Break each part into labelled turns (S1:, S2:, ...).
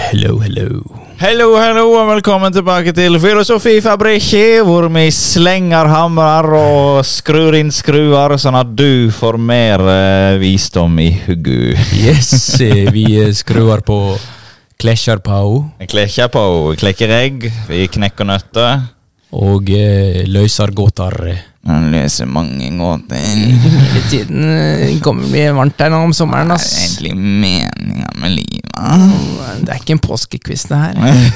S1: Hello, hello.
S2: Hello, hello, og velkommen tilbake til Filosofifabrikket, hvor vi slenger hamrer og skrur inn skruer, sånn at du får mer eh, visdom i huggu.
S1: Yes, eh, vi eh, skruer på klesjer på
S2: Vi klekker på, vi klekker egg, vi knekker nøtter.
S1: og eh, løser gåter.
S2: Han løser mange gåter.
S1: Hele tiden eh, kommer det varmt her nå om sommeren,
S2: meninga med livet.
S1: Det er ikke en påskekvist, det her.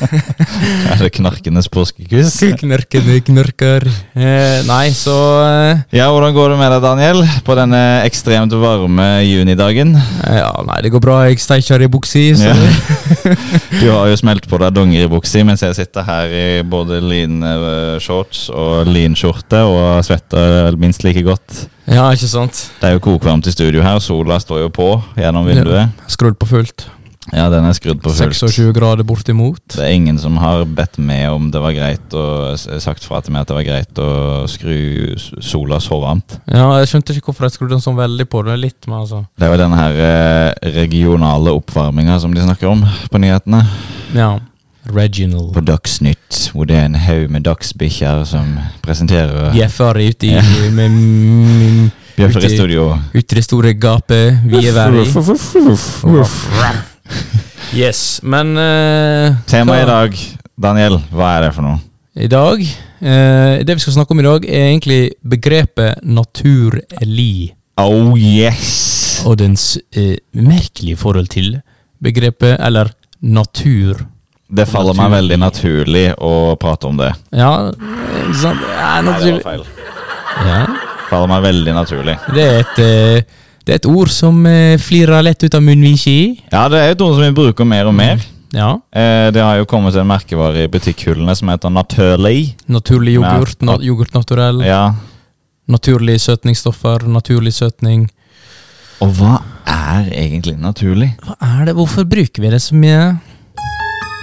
S2: Er det knarkenes påskekviss?
S1: Knørkende knørker. Eh, nei, så eh,
S2: Ja, hvordan går det med deg, Daniel, på denne ekstremt varme junidagen?
S1: Ja, nei, det går bra. Jeg steiker i buksa, så
S2: Ja. Du har jo smelt på deg dongeribuksa mens jeg sitter her i både lean-shorts og lean-skjorte og svetter minst like godt.
S1: ja, ikke sant?
S2: Det er jo kokvarmt i studio her, sola står jo på gjennom vinduet.
S1: Skrudd på fullt.
S2: Ja, den er skrudd på fullt.
S1: 26 grader bortimot.
S2: Det er ingen som har bedt meg om det var greit og sagt fra til meg at det var greit å skru s- sola så varmt.
S1: Ja, jeg skjønte ikke hvorfor jeg skrudde den sånn veldig på. Det er litt mer altså.
S2: Det er jo den her eh, regionale oppvarminga som de snakker om på nyhetene.
S1: Ja. Reginald.
S2: På Dagsnytt, hvor det er en haug med dagsbikkjer som presenterer
S1: Bjeffer ute i
S2: Ja.
S1: med, mm,
S2: Bjørfer i
S1: Uti-
S2: studio.
S1: Ute i det store gapet vi er vær i. Yes, men eh,
S2: Temaet i
S1: hva-
S2: dag, Daniel, hva er det for noe?
S1: I dag eh, Det vi skal snakke om i dag, er egentlig begrepet naturlig
S2: Oh yes!
S1: og dens eh, merkelige forhold til begrepet eller natur.
S2: Det faller meg veldig naturlig å prate om det.
S1: Ja, ikke sant? Ja,
S2: Nei, det
S1: natur-
S2: var feil.
S1: ja,
S2: Faller meg veldig naturlig.
S1: det er et eh, det er et ord som eh, flirer lett ut av munnviket.
S2: Ja, det er jo et ord som vi bruker mer og mer.
S1: Ja.
S2: Eh, det har jo kommet en merkevare i butikkhullene som heter Naturlig.
S1: Naturlig yoghurt,
S2: Ja.
S1: na yoghurt naturell.
S2: Ja.
S1: Naturlige søtningsstoffer, naturlig søtning.
S2: Og hva er egentlig naturlig?
S1: Hva er det? Hvorfor bruker vi det så mye?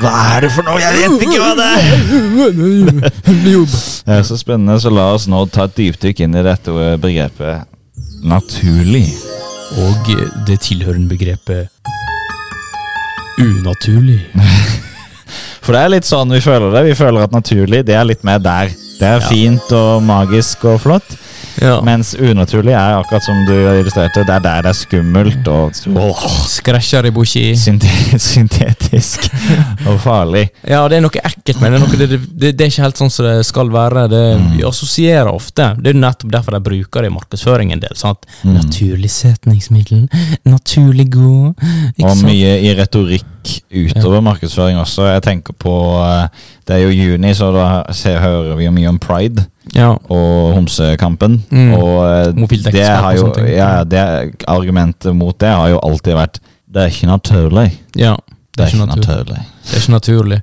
S2: Hva er det for noe? Jeg vet ikke hva det er! Det er så spennende, så la oss nå ta et dypdykk inn i dette begrepet naturlig.
S1: Og det tilhørende begrepet unaturlig.
S2: For det er litt sånn vi føler det. Vi føler at naturlig, det er litt mer der. Det er
S1: Ja.
S2: fint og magisk og flott,
S1: Ja.
S2: mens unaturlig er akkurat som du illustrerte, det er der det er skummelt og Åh,
S1: Skræsjer i boki.
S2: synte- syntetisk og farlig.
S1: Ja, det er noe ekkelt, men det er, noe, det, det, det er ikke helt sånn som det skal være. Det, vi assosierer ofte. Det er nettopp derfor de bruker det i markedsføring en del. Sant?
S2: Mm.
S1: Naturlig setningsmiddel, naturlig god ikke
S2: Og
S1: sant?
S2: mye i retorikk utover markedsføring også. Jeg tenker på eh, Det er jo juni, så da ser, hører vi jo mye om pride
S1: Ja.
S2: og homsekampen.
S1: Mm.
S2: Og eh,
S1: Homofilt
S2: det
S1: ekteskap
S2: har jo
S1: og sånne ting.
S2: ja, det, Argumentet mot det har jo alltid vært Det er ikke naturlig.
S1: ja. Det er ikke naturlig. Det er ikke naturlig.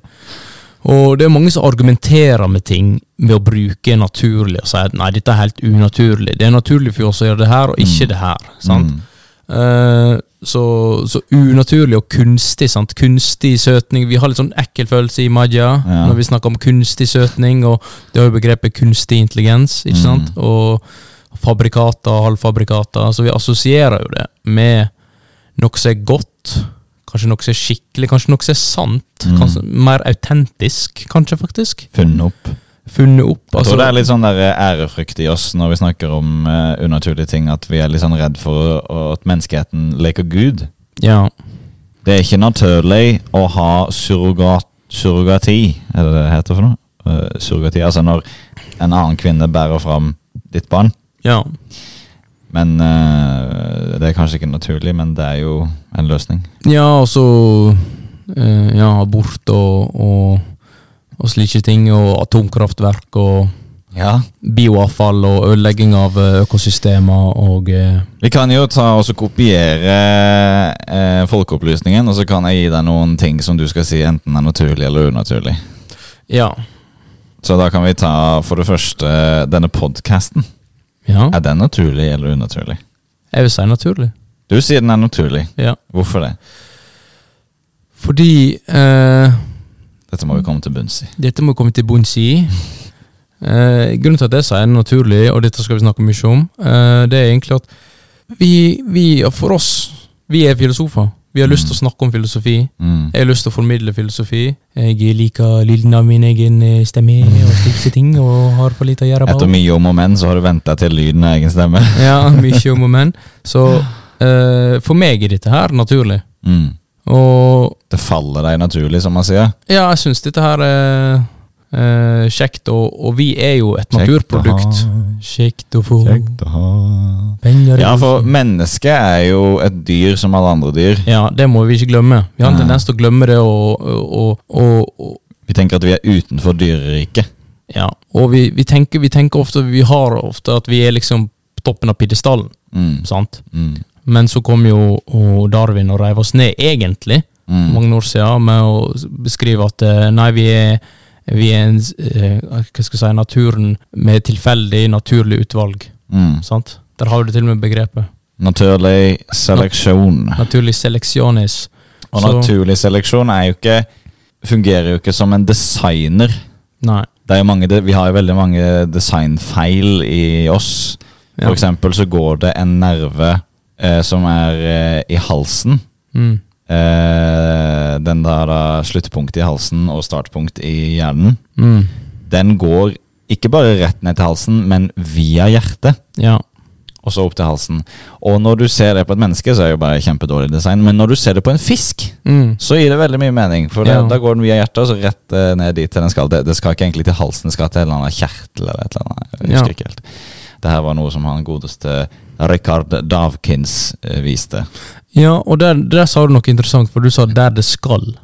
S1: Og det er mange som argumenterer med ting ved å bruke naturlig og si at nei, dette er helt unaturlig. Det er naturlig for oss å gjøre det her, og ikke det her. sant?
S2: Mm.
S1: Eh, så, så unaturlig og kunstig. sant? Kunstig søtning. Vi har litt sånn ekkel følelse i Maja
S2: Ja.
S1: når vi snakker om kunstig søtning, og det har jo begrepet kunstig intelligens,
S2: Mm.
S1: ikke sant? Og fabrikata og halvfabrikata. Så vi assosierer jo det med noe som er godt, kanskje noe som er skikkelig, kanskje noe som er sant.
S2: Mm.
S1: Kanskje mer autentisk, kanskje, faktisk.
S2: Funnet opp. Jeg
S1: Funnet opp. altså
S2: tror det er litt sånn der ærefrykt i oss når vi snakker om eh, unaturlige ting, at vi er litt sånn redd for å- at menneskeheten leker Gud.
S1: ja.
S2: Det er ikke naturlig å ha surrogat, surrogati, er det det heter for noe? Eh, surrogati, altså når en annen kvinne bærer fram ditt barn.
S1: ja.
S2: Men eh, det er kanskje ikke naturlig, men det er jo en løsning.
S1: Ja, og så eh, Ja, abort og, og, og slike ting, og atomkraftverk og
S2: Ja.
S1: bioavfall og ødelegging av eh, økosystemer og eh,
S2: Vi kan jo ta og så kopiere eh, folkeopplysningen, og så kan jeg gi deg noen ting som du skal si enten er naturlig eller unaturlig.
S1: Ja.
S2: Så da kan vi ta for det første denne podkasten.
S1: ja.
S2: Er den naturlig eller unaturlig?
S1: Jeg vil si naturlig.
S2: Du sier den er naturlig.
S1: Ja.
S2: Hvorfor det?
S1: Fordi eh,
S2: Dette må vi komme til bunns i.
S1: Dette må komme til bunns i. Eh, grunnen til at jeg sier det naturlig, og dette skal vi snakke mye om, eh, det er egentlig at vi, vi, for oss, vi er filosofer. Vi har lyst til å snakke om filosofi.
S2: Mm.
S1: Jeg har lyst til å formidle filosofi. Jeg liker lyden av min egen eh, stemme og slike ting, og har for lite å gjøre
S2: Etter mye om og men, så har du venta til lyden av egen stemme.
S1: Ja, mye om og men. Så eh, for meg er dette her naturlig.
S2: Mm.
S1: Og
S2: Det faller deg naturlig, som man sier.
S1: ja, jeg syns dette her er eh, kjekt, og, og vi er jo et naturprodukt. Kjekt å få
S2: Kjekt å ha.
S1: penger i
S2: Ja, for
S1: posen.
S2: mennesket er jo et dyr som alle andre dyr.
S1: Ja, det må vi ikke glemme. Vi har en
S2: Nei.
S1: tendens til å glemme det, og, og, og, og
S2: Vi tenker at vi er utenfor dyreriket.
S1: Ja, og vi, vi, tenker, vi tenker ofte Vi har ofte at vi er liksom på toppen av pidestallen,
S2: Mm.
S1: sant?
S2: Mm.
S1: Men så kom jo og Darwin og reiv oss ned, egentlig,
S2: Mm.
S1: mange år siden, med å s- beskrive at eh, nei, vi er, vi er en, s- eh, hva skal jeg si, naturen med tilfeldig, naturlig utvalg.
S2: Mm.
S1: Sant? Der har du til og med begrepet.
S2: Naturlig seleksjon.
S1: Naturlig seleksjonis.
S2: Og
S1: Så-
S2: naturlig seleksjon er jo ikke fungerer jo ikke som en designer.
S1: Nei.
S2: Det er jo mange, vi har jo veldig mange designfeil i oss.
S1: Ja.
S2: For eksempel så går det en nerve eh, som er eh, i halsen.
S1: Mm.
S2: Eh, den der da sluttpunkt i halsen og startpunkt i hjernen.
S1: Mm.
S2: Den går ikke bare rett ned til halsen, men via hjertet.
S1: Ja.
S2: Og så opp til halsen. Og når du ser det på et menneske, så er det jo bare kjempedårlig design. Men når du ser det på en fisk,
S1: Mm.
S2: så gir det veldig mye mening. For det,
S1: Ja.
S2: da går den via hjertet og så rett eh, ned dit til den skal. Det, det skal ikke egentlig til halsen, det skal til en eller annen kjertel eller et eller annet. Jeg husker
S1: Ja.
S2: ikke helt. Det her var noe som han godeste Richard Davkins eh, viste.
S1: Ja, og der, der sa du noe interessant, for du sa 'der det skal'.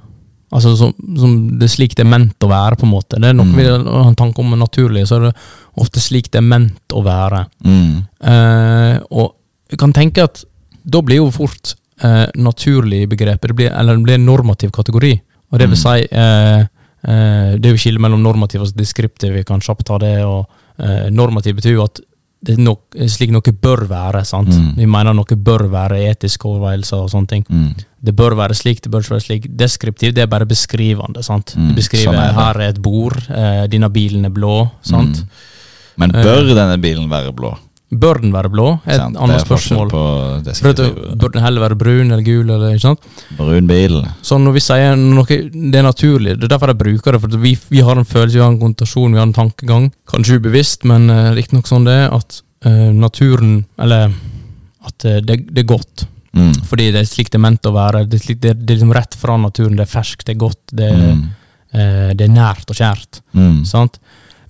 S1: Altså som, som det er slik det er ment å være, på en måte. Det er noe
S2: Mm.
S1: vi har en tanke om naturlig, så er det ofte slik det er ment å være.
S2: Mm.
S1: Eh, og jeg kan tenke at da blir jo fort eh, naturlig begrepet, det blir, eller det blir en normativ kategori. Og det vil
S2: Mm.
S1: si eh, eh, Det er jo skille mellom normativ og deskriptiv, vi kan kjapt ta det. og eh, Normativ betyr jo at det er nok, slik noe bør være. sant?
S2: Mm.
S1: Vi mener noe bør være etiske overveielser og sånne ting.
S2: Mm.
S1: Det bør være slik, det bør ikke være slik. Deskriptiv, det er bare beskrivende. sant?
S2: Mm,
S1: Det beskriver
S2: sånn er det.
S1: her er et bord, eh, denne bilen er blå. sant?
S2: Mm. Men bør denne bilen være blå?
S1: Bør den være blå? Er Et
S2: Mm. Sant? Det
S1: annet
S2: er forskjell
S1: spørsmål.
S2: På det
S1: For at, bør den heller være brun eller gul? Eller, ikke sant?
S2: Brun bil.
S1: Så når vi sier noe, det er naturlig, det er derfor jeg bruker det. For at vi, vi har en følelse, vi har en konnotasjon, vi har en tankegang. Kanskje ubevisst, men uh, riktignok sånn det er at eh, naturen Eller at eh, det, det er godt.
S2: Mm.
S1: Fordi det er slik det er ment å være. Det er, slik, det, er- det er liksom rett fra naturen. Det er ferskt, det er godt, det, er-
S2: Mm.
S1: eh, det er nært og kjært.
S2: Mm.
S1: Sant?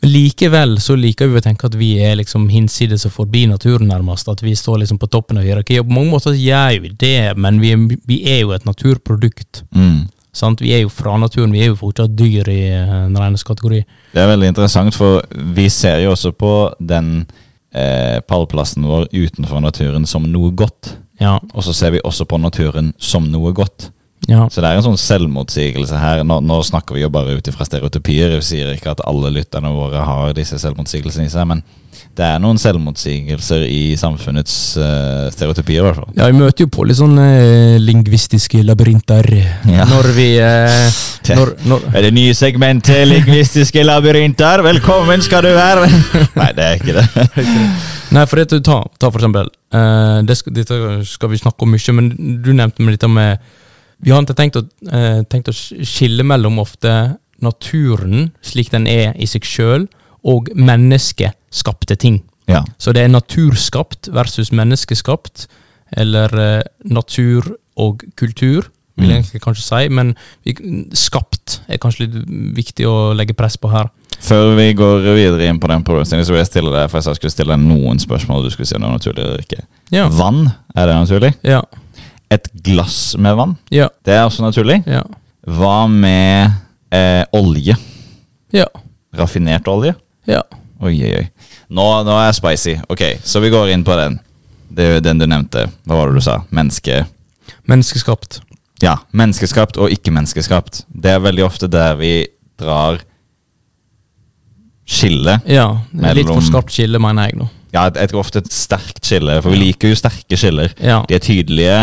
S1: Likevel så liker vi å tenke at vi er liksom hinsides og forbi naturen, nærmest. At vi står liksom på toppen av hierarkiet. Og på mange måter så gjør vi det, men vi, er- vi er jo et naturprodukt.
S2: Mm.
S1: Sant? Vi er jo fra naturen, vi er jo fortsatt dyr i eh, en regnes kategori.
S2: Det er veldig interessant, for vi ser jo også på den eh, pallplassen vår utenfor naturen som noe godt.
S1: Ja.
S2: Og så ser vi også på naturen som noe godt.
S1: ja.
S2: Så det er en sånn selvmotsigelse her. Nå, nå snakker vi jo bare ut ifra stereotypier. Vi sier ikke at alle lytterne våre har disse selvmotsigelsene i seg, men det er noen selvmotsigelser i samfunnets eh, stereotypier, i hvert fall.
S1: Ja, vi møter jo på litt sånne eh, lingvistiske labyrinter
S2: Ja.
S1: når vi eh, når, når,
S2: Er det nye segment til lingvistiske labyrinter? Velkommen skal du være! Nei, det er ikke det.
S1: Nei, for det, ta, ta for eksempel eh, det skal, Dette skal vi snakke om mye, men du nevnte med dette med eh, Vi har ikke tenkt å, eh, tenkt å sk- skille mellom ofte naturen slik den er i seg sjøl, og menneskeskapte ting.
S2: Ja.
S1: Så det er naturskapt versus menneskeskapt, eller eh, natur og kultur, vil jeg
S2: Mm.
S1: egentlig kanskje si, men vi, skapt er kanskje litt viktig å legge press på her.
S2: Før vi går videre inn på den problemstillingen, så vil jeg stille deg, for jeg sa jeg skulle stille deg noen spørsmål, og du skulle si om det var naturlig eller ikke.
S1: Ja.
S2: Vann, er det naturlig?
S1: Ja.
S2: Et glass med vann,
S1: Ja.
S2: det er også naturlig.
S1: Ja.
S2: Hva med eh, olje?
S1: Ja.
S2: Raffinert olje?
S1: ja.
S2: Oi, oi, oi. Nå, nå er jeg spicy. Ok, så vi går inn på den. Det er jo den du nevnte. Hva var det du sa? Menneske...
S1: Menneskeskapt.
S2: Ja, menneskeskapt og ikke-menneskeskapt. Det er veldig ofte der vi drar skillet
S1: Ja, litt
S2: Mellom-
S1: for skarpt skille, mener jeg nå.
S2: Ja, jeg tror ofte et sterkt skille, for vi liker jo sterke skiller.
S1: Ja.
S2: De er tydelige.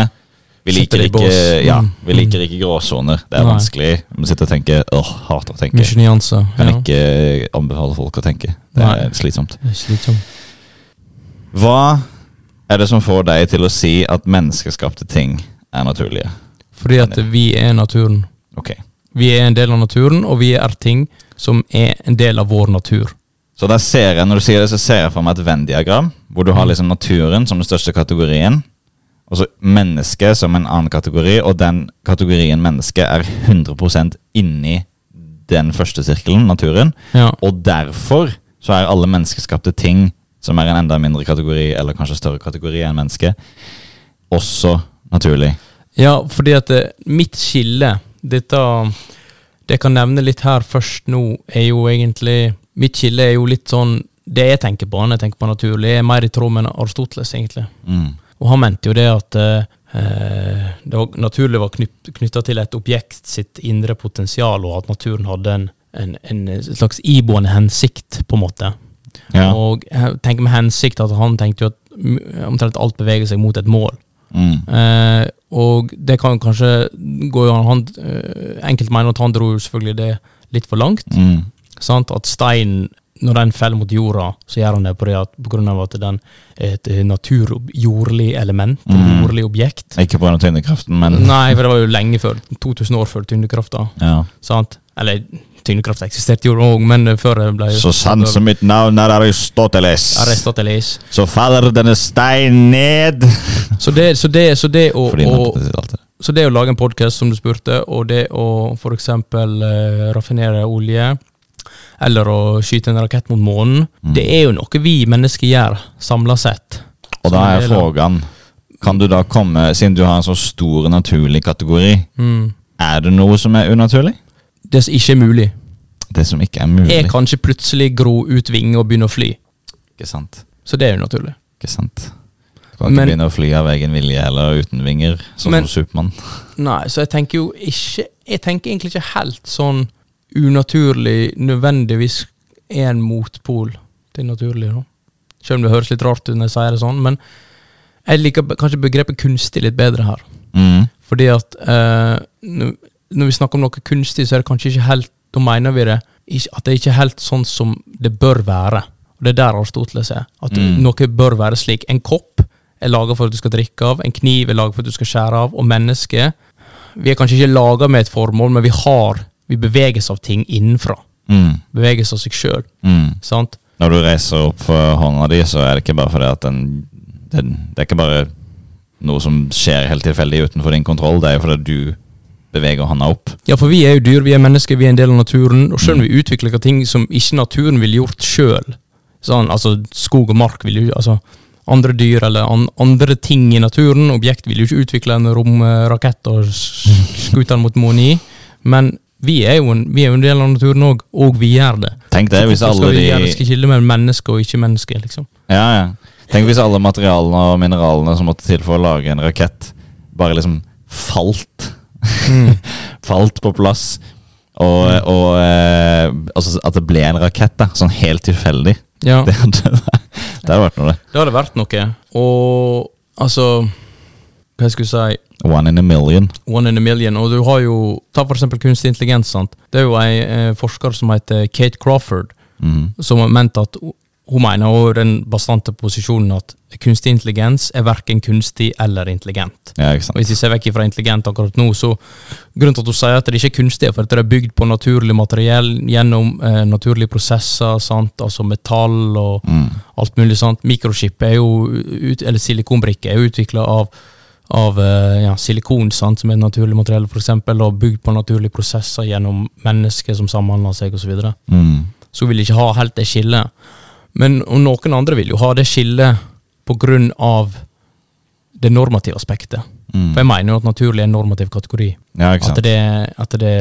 S2: Vi
S1: Sitter
S2: liker,
S1: i
S2: ikke,
S1: bås.
S2: ja,
S1: Mm.
S2: vi liker ikke gråsoner. Det er
S1: Nei.
S2: vanskelig. Vi sitter og tenker åh, hater å tenke.
S1: Mye nyanser.
S2: Kan
S1: ja.
S2: ikke anbefale folk å tenke. Det er
S1: Nei.
S2: slitsomt.
S1: Det er slitsomt.
S2: Hva er det som får deg til å si at menneskeskapte ting er naturlige?
S1: Fordi at vi er naturen.
S2: Ok.
S1: Vi er en del av naturen, og vi er ting som er en del av vår natur.
S2: Så der ser jeg, når du sier det, så ser jeg for meg et Venn-diagram, hvor du har
S1: Mm.
S2: liksom naturen som den største kategorien, og så mennesket som en annen kategori, og den kategorien menneske er 100 inni den første sirkelen, naturen,
S1: Ja.
S2: og derfor så er alle menneskeskapte ting, som er en enda mindre kategori, eller kanskje større kategori enn menneske, også naturlig.
S1: Ja, fordi at eh, mitt skille Dette Det jeg kan nevne litt her først nå, er jo egentlig Mitt skille er jo litt sånn Det jeg tenker på når jeg tenker på naturlig, er mer i tråd med Aristoteles, egentlig.
S2: Mm.
S1: Og han mente jo det at eh, det var naturlig var knytta til et objekt sitt indre potensial, og at naturen hadde en, en, en slags iboende hensikt, på en måte.
S2: Ja.
S1: Og jeg tenker med hensikt at han tenkte jo at mm, omtrent alt beveger seg mot et mål.
S2: Mm.
S1: Eh, og det kan kanskje gå jo an han, eh, Enkelte mener at han dro jo selvfølgelig det litt for langt.
S2: Mm.
S1: Sant? At steinen, når den faller mot jorda, så gjør han det på, det at, på grunn av at den er et eh, naturjordlig element, et
S2: Mm.
S1: jordlig objekt.
S2: Ikke pga. tyngdekraften, men
S1: Nei, for det var jo lenge før. 2000 år før tyngdekrafta.
S2: ja.
S1: Sant? Eller tyngdekraft eksisterte jo òg, men eh, før det ble
S2: Så sant som mitt navn er Aristoteles,
S1: Aristoteles.
S2: så faller denne stein ned
S1: Så det, så det, så det å,
S2: Fordi
S1: å
S2: Marte sier alt det.
S1: Så det å lage en podkast, som du spurte, og det å f.eks. Eh, raffinere olje, eller å skyte en rakett mot månen,
S2: Mm.
S1: det er jo noe vi mennesker gjør, samla sett.
S2: Og da
S1: Som
S2: er
S1: en del av-
S2: frågan Kan du da komme, siden du har en så stor naturlig kategori,
S1: Mm.
S2: er det noe som er unaturlig?
S1: Det som ikke er mulig,
S2: Det som ikke er mulig.
S1: er kanskje plutselig gro ut vinger og begynne å fly.
S2: Ikke sant.
S1: Så det er jo naturlig.
S2: Ikke sant. Du kan ikke
S1: Men-
S2: begynne å fly av egen vilje eller uten vinger, sånn
S1: Men-
S2: som Supermann.
S1: Nei, så jeg tenker jo ikke Jeg tenker egentlig ikke helt sånn unaturlig nødvendigvis er en motpol til naturlig, da. Selv om det høres litt rart ut når jeg sier det sånn, men jeg liker be- kanskje begrepet kunstig litt bedre her.
S2: Mm.
S1: Fordi at eh, nu- når vi snakker om noe kunstig, så er det kanskje ikke helt Da mener vi det ikke, at det ikke er helt sånn som det bør være. Og det er der Aristoteles er. At
S2: Mm.
S1: noe bør være slik. En kopp er laga for at du skal drikke av, en kniv er laga for at du skal skjære av, og mennesket Vi er kanskje ikke laga med et formål, men vi har Vi beveges av ting innenfra.
S2: Mm.
S1: Beveges av seg sjøl,
S2: Mm.
S1: sant?
S2: Når du reiser opp for hånda di, så er det ikke bare fordi at den, den Det er ikke bare noe som skjer helt tilfeldig utenfor din kontroll, det er jo fordi du beveger hånda opp.
S1: Ja, for vi er jo dyr, vi er mennesker, vi er en del av naturen. Og selv om
S2: Mm.
S1: vi utvikler ting som ikke naturen ville gjort sjøl, sånn, altså skog og mark vil jo altså andre dyr eller an, andre ting i naturen, objekt vil jo ikke utvikle en romrakett og s- skute den mot månen i, men vi er, jo en, vi er jo en del av naturen òg, og vi gjør det.
S2: Tenk det, hvis
S1: Så hvorfor
S2: alle
S1: skal vi gjøre det
S2: de
S1: skal skille mellom menneske og ikke-menneske, liksom?
S2: ja, ja. Tenk hvis alle materialene og mineralene som måtte til for å lage en rakett, bare liksom falt. falt på plass. Og, og eh, altså at det ble en rakett, da. Sånn helt tilfeldig.
S1: Ja.
S2: Det hadde, det hadde vært noe, det.
S1: Det hadde vært noe. Og altså Hva skal jeg si?
S2: One in a million.
S1: One in a million. Og du har jo Ta for eksempel kunstig intelligens. sant? Det er jo ei eh, forsker som heter Kate Crawford,
S2: Mhm.
S1: som har ment at hun mener og den bastante posisjonen at kunstig intelligens er verken kunstig eller intelligent.
S2: Ja, ikke sant.
S1: Og Hvis vi ser vekk fra intelligent akkurat nå, så grunnen til at hun sier at det ikke er kunstig, er for at det er bygd på naturlig materiell gjennom eh, naturlige prosesser, sant? altså metall og
S2: Mm.
S1: alt mulig sånt. Mikrochip er jo ut, eller silikonbrikke er jo utvikla av, av eh, ja, silikon, sant, som er et naturlig materiell, for eksempel, og bygd på naturlige prosesser gjennom mennesker som samhandler seg, osv. Så, videre.
S2: Mm.
S1: så hun vil ikke ha helt det skillet. Men og noen andre vil jo ha det skillet på grunn av det normative aspektet.
S2: Mm.
S1: For jeg mener jo at naturlig er en normativ kategori.
S2: Ja,
S1: At,
S2: ikke sant.
S1: det, at, det,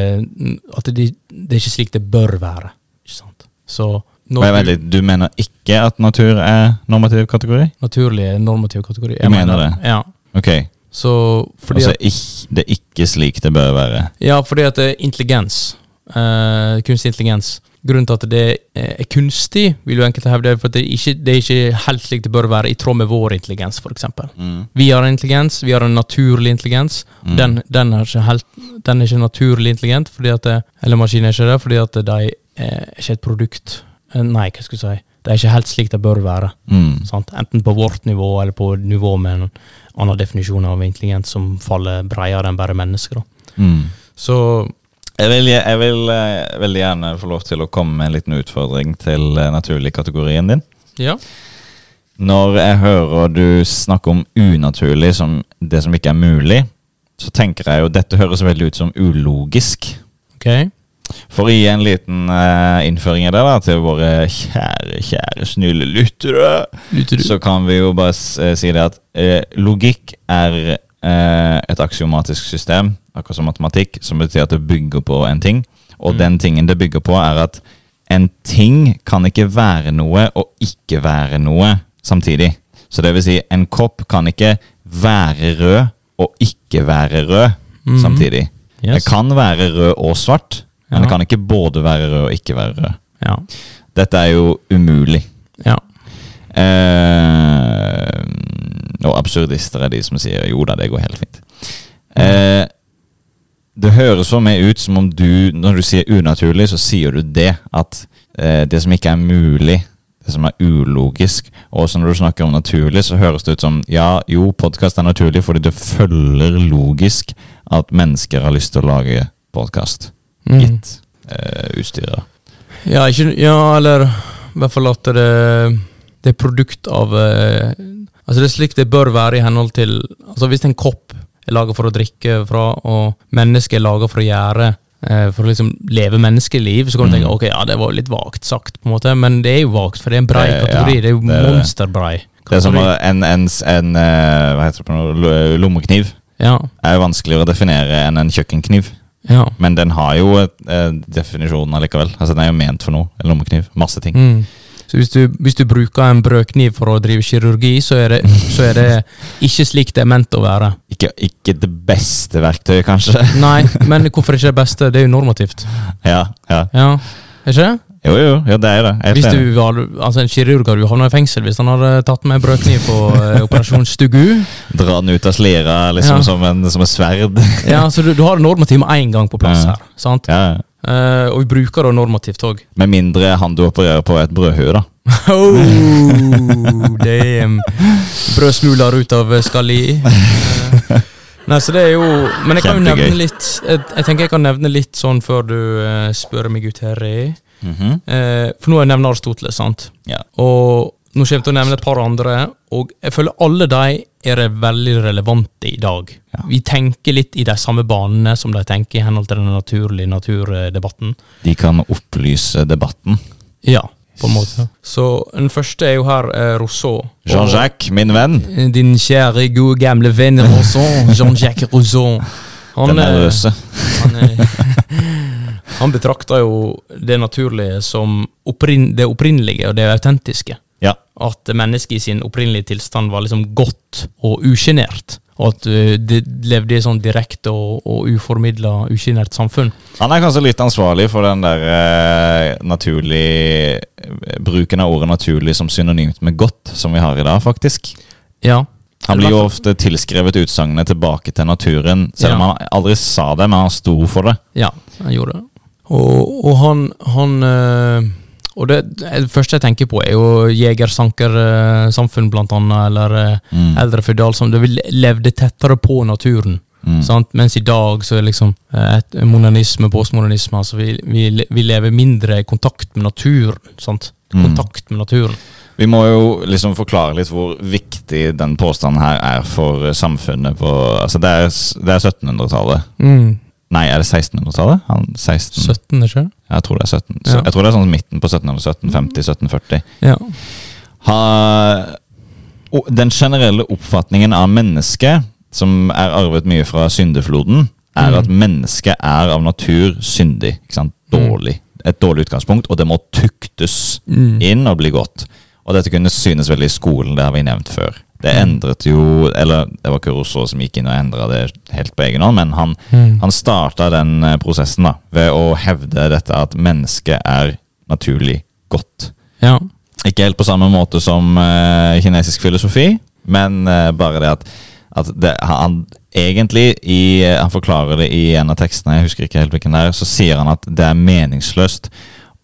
S1: at det, det er ikke slik det bør være. Ikke sant? Så når
S2: Men, vent litt, du mener ikke at natur er normativ kategori?
S1: naturlige normative kategorier.
S2: Du mener det?
S1: Ja.
S2: Ok.
S1: Så fordi
S2: Altså,
S1: at,
S2: ikk- det er ikke slik det bør være.
S1: ja, fordi at eh, intelligens, eh, kunstig intelligens Grunnen til at det eh, er kunstig, vil jo enkelte hevde, er for at det, ikke, det er ikke helt slik det bør være, i tråd med vår intelligens, f.eks. Vi har en intelligens, vi har en naturlig intelligens.
S2: Mm.
S1: Den, den, er ikke helt, den er ikke naturlig intelligent, fordi at det, eller maskinen er ikke det, fordi at de er ikke et produkt Eh, Nei, hva skulle jeg si? Det er ikke helt slik det bør være.
S2: Mm.
S1: Sant? Enten på vårt nivå eller på nivå med en annen definisjon av intelligens som faller bredere enn bare mennesker. Da.
S2: Mm.
S1: Så
S2: Jeg vil, jeg vil eh, veldig gjerne få lov til å komme med en liten utfordring til eh, naturlig-kategorien din.
S1: ja.
S2: Når jeg hører du snakke om unaturlig som det som ikke er mulig, så tenker jeg jo dette høres veldig ut som ulogisk.
S1: Ok.
S2: For å gi en liten eh, innføring i det da, til våre kjære, kjære snille lyttere,
S1: Lytter
S2: så kan vi jo bare s- eh, si det at eh, logikk er eh, et aksiomatisk system, akkurat som matematikk, som betyr at det bygger på en ting. Og
S1: Mm.
S2: den tingen det bygger på, er at en ting kan ikke være noe og ikke være noe samtidig. Så det vil si, en kopp kan ikke være rød og ikke være rød
S1: Mhm.
S2: samtidig. Det
S1: Yes.
S2: kan være rød og svart, men det
S1: Ja.
S2: kan ikke både være rød og ikke være rød.
S1: Ja.
S2: Dette er jo umulig.
S1: ja.
S2: Eh, og absurdister er de som sier jo da, det går helt fint. Eh, det høres for meg ut som om du, når du sier unaturlig, så sier du det. At eh, det som ikke er mulig, det som er ulogisk. Og også når du snakker om naturlig, så høres det ut som ja, jo, podkast er naturlig fordi det følger logisk at mennesker har lyst til å lage podkast.
S1: Mm.
S2: Gitt eh, utstyret.
S1: Ja, ikke, ja, eller i hvert fall at det, det er produkt av eh, Altså, det er slik det bør være i henhold til Altså, hvis en kopp er laga for å drikke fra, og mennesket er laga for å gjøre eh, For å liksom leve menneskeliv, så kan du
S2: Mm.
S1: tenke ok, ja, det var jo litt vagt sagt, på en måte, men det er jo vagt, for det er en brei
S2: Eh, ja,
S1: kategori. det er jo
S2: det er det.
S1: monsterbrei.
S2: Det er som
S1: kategori.
S2: en, en, en eh, Hva heter det på noe? Lo- Lommekniv.
S1: Ja.
S2: er jo vanskeligere å definere enn en kjøkkenkniv.
S1: ja.
S2: Men den har jo et, eh, definisjonen allikevel. Altså, den er jo ment for noe. En lommekniv. Masse ting.
S1: Mm. Så hvis du, hvis du bruker en brødkniv for å drive kirurgi, så er det, så er det ikke slik det er ment å være.
S2: Ikke, ikke det beste verktøyet, kanskje.
S1: Nei, men hvorfor ikke det beste? Det er jo normativt.
S2: ja, ja.
S1: Ja, er ikke det?
S2: Jo, jo, jo, det er jo det. Jeg er
S1: Hvis
S2: helt enig.
S1: du var, altså En kirurg hadde jo havna i fengsel hvis han hadde tatt med brødkniv på eh, operasjon Stugu.
S2: Dra den ut av slira liksom
S1: Ja.
S2: som, en, som et sverd.
S1: Ja, så du, du har normativ med én gang på plass
S2: Ja.
S1: her. sant?
S2: ja.
S1: Eh, og vi bruker da normativt òg.
S2: Med mindre han du opererer på, er et brødhue, da.
S1: Oh, damn. Brødsmuler ut av eh, skalli. Eh, Nei, så det er jo Men jeg kan jo
S2: Kjempegøy.
S1: nevne litt jeg, jeg tenker jeg kan nevne litt sånn før du eh, spør meg ut her. Rei.
S2: Mhm.
S1: Eh, for nå har jeg nevnt Aristoteles, sant?
S2: Ja.
S1: Og nå kommer jeg til å nevne et par andre, og jeg føler alle de er re- veldig relevante i dag.
S2: Ja.
S1: Vi tenker litt i de samme banene som de tenker i henhold til den naturlige naturdebatten.
S2: De kan opplyse debatten.
S1: Ja, på en måte. Så den første er jo her eh, Rousseau. Og-
S2: Jean-Jacques, min venn.
S1: Din kjære, gode, gamle venn Rousseau, Jean-Jacques Rousseau. Han,
S2: Den
S1: eh,
S2: nervøse.
S1: Han, eh, han betrakter jo det naturlige som opprinn, det opprinnelige og det autentiske.
S2: Ja.
S1: At mennesket i sin opprinnelige tilstand var liksom godt og usjenert. Og at eh, det levde i et sånn direkte og, og uformidla, usjenert samfunn.
S2: Han er kanskje litt ansvarlig for den der eh, naturlig eh, Bruken av ordet 'naturlig' som synonymt med 'godt', som vi har i dag, faktisk.
S1: Ja.
S2: Han blir jo ofte tilskrevet utsagnet 'tilbake til naturen', selv om
S1: Ja.
S2: han aldri sa det, men han sto for det.
S1: Ja, han gjorde det. Og, og han, han eh, Og det, det første jeg tenker på, er jo jegersankersamfunn, blant annet, eller eh,
S2: Mm.
S1: eldre føydal som det vil- levde tettere på naturen.
S2: Mm.
S1: Sant? Mens i dag så er liksom eh, et modernisme, postmodernisme altså vi, vi, le- vi lever mindre i kontakt med naturen. Sant?
S2: Mm.
S1: Kontakt med naturen.
S2: Vi må jo liksom forklare litt hvor viktig den påstanden her er for eh, samfunnet på Altså, det er, s- det er 1700-tallet.
S1: Mm.
S2: Nei, er det 1600-tallet? Han 16...
S1: 17, ikke
S2: Jeg tror det er 17. Så,
S1: Ja.
S2: Jeg tror det er sånn midten på 1700-tallet. 1750-1740.
S1: Ja.
S2: ha, o- Den generelle oppfatningen av mennesket, som er arvet mye fra syndefloden, er
S1: Mm.
S2: at mennesket er av natur syndig. Ikke sant? Dårlig. Et dårlig utgangspunkt, og det må tuktes
S1: Mm.
S2: inn og bli godt. Og dette kunne synes veldig i skolen, det har vi nevnt før. Det
S1: Mm.
S2: endret jo Eller det var ikke Rousseau som gikk inn og endra det helt på egen hånd, men han,
S1: Mm.
S2: han starta den eh, prosessen da, ved å hevde dette at mennesket er naturlig godt.
S1: ja.
S2: Ikke helt på samme måte som eh, kinesisk filosofi, men eh, bare det at, at det, han egentlig i, eh, Han forklarer det i en av tekstene, jeg husker ikke helt hvilken det er, så sier han at det er meningsløst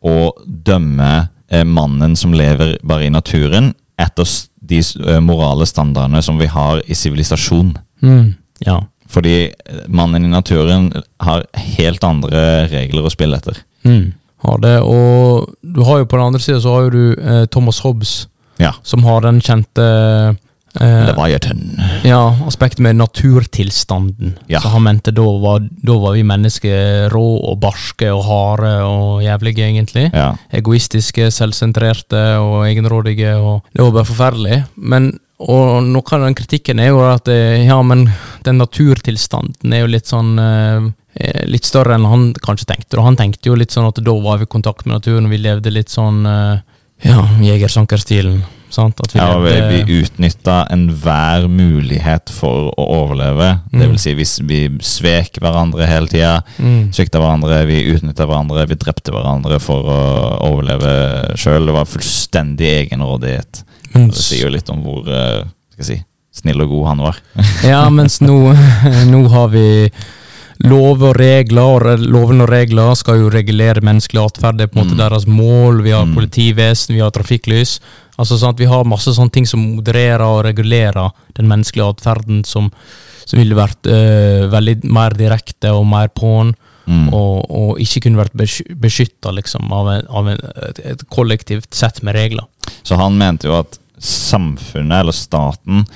S2: å dømme eh, mannen som lever bare i naturen, etter s- de s- eh, morale standardene som vi har i sivilisasjon.
S1: Mm. Ja.
S2: Fordi eh, mannen i naturen har helt andre regler å spille etter.
S1: Mm. Har det, og du har jo på den andre sida så har jo du eh, Thomas Hobbes,
S2: Ja.
S1: som har den kjente eh,
S2: Leviathan.
S1: ja, aspektet med naturtilstanden.
S2: Ja.
S1: Så han mente da var, da var vi mennesker rå og barske og harde og jævlige, egentlig.
S2: Ja.
S1: egoistiske, selvsentrerte og egenrådige. Og det var bare forferdelig. Men, og noe av den kritikken er jo at det, ja, men den naturtilstanden er jo litt sånn eh, eh, Litt større enn han kanskje tenkte. Og han tenkte jo litt sånn at da var vi i kontakt med naturen, vi levde litt sånn eh, ja, jegersankerstilen. Sant? At vi
S2: Ja, vi,
S1: levde,
S2: vi utnytta enhver mulighet for å overleve. Det vil si, vi, s- vi svek hverandre hele tida.
S1: Mm.
S2: Svikta hverandre, vi utnytta hverandre, vi drepte hverandre for å overleve sjøl. Det var fullstendig egenrådighet.
S1: mens-
S2: Det sier jo litt om hvor eh, skal jeg si, snill og god han var.
S1: Ja, mens nå, nå har vi lover og regler, og re- lovene og regler skal jo regulere menneskelig atferd. Det er på en måte
S2: Mm.
S1: deres mål. Vi har
S2: Mm.
S1: politivesen, vi har trafikklys. Altså sant, Vi har masse sånne ting som modererer og regulerer den menneskelige atferden, som, som ville vært eh, veldig mer direkte og mer på'n,
S2: Mm.
S1: og, og ikke kunne vært beskytta liksom, av, en, av en, et, et kollektivt sett med regler.
S2: Så han mente jo at samfunnet, eller staten,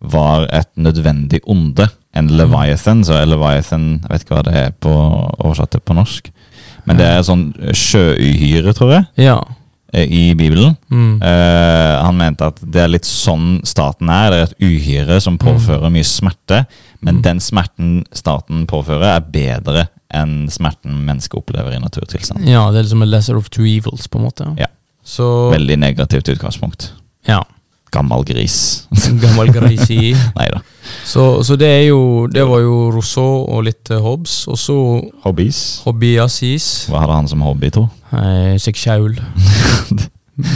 S2: var et nødvendig onde. En leviathan, så er leviathan Jeg vet ikke hva det er på, oversatt til på norsk. Men det er et sånn sjøuhyre, tror jeg,
S1: Ja.
S2: eh, i Bibelen.
S1: Mm.
S2: Eh, han mente at det er litt sånn staten er. Det er et uhyre som påfører mye smerte. Men den smerten staten påfører, er bedre enn smerten mennesket opplever i naturtilstand.
S1: ja, det er liksom a lesser of two evils, på en måte.
S2: Ja.
S1: Så
S2: Veldig negativt utgangspunkt.
S1: Ja.
S2: Gammel gris.
S1: Gammel gris i.
S2: Nei da.
S1: Så, så det er jo Det var jo Rousseau og litt eh, Hobbes. Og så
S2: Hobbies.
S1: Hobby Assis.
S2: Hva hadde han som hobby, tro?
S1: Eh, Seg sjøl.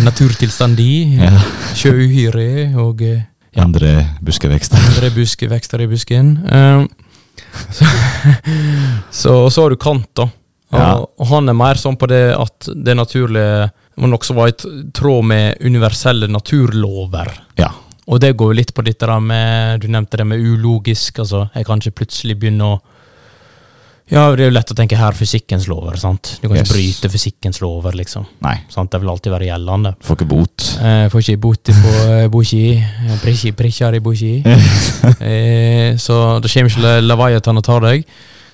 S1: Naturtilstandi.
S2: Ja.
S1: Sjøuhyre og eh, Ja.
S2: Andre buskevekster.
S1: andre buske, vekster i busken. Eh, så, så, så har du Kant, da. Og,
S2: Ja.
S1: og han er mer sånn på det at det naturlige må også være i t- tråd med universelle naturlover.
S2: Ja.
S1: Og det går jo litt på dette der med Du nevnte det med ulogisk. altså Jeg kan ikke plutselig begynne å Ja, det er jo lett å tenke her fysikkens lover, sant. Du kan ikke
S2: Yes.
S1: bryte fysikkens lover, liksom.
S2: Nei,
S1: sant, Det vil alltid være gjeldende.
S2: du får ikke bot.
S1: Eh, får ikke bot på eh, Boshi. Eh, Prikki, prikkjer i Boshi. eh, så det kommer ikke le- Leviathan og tar deg.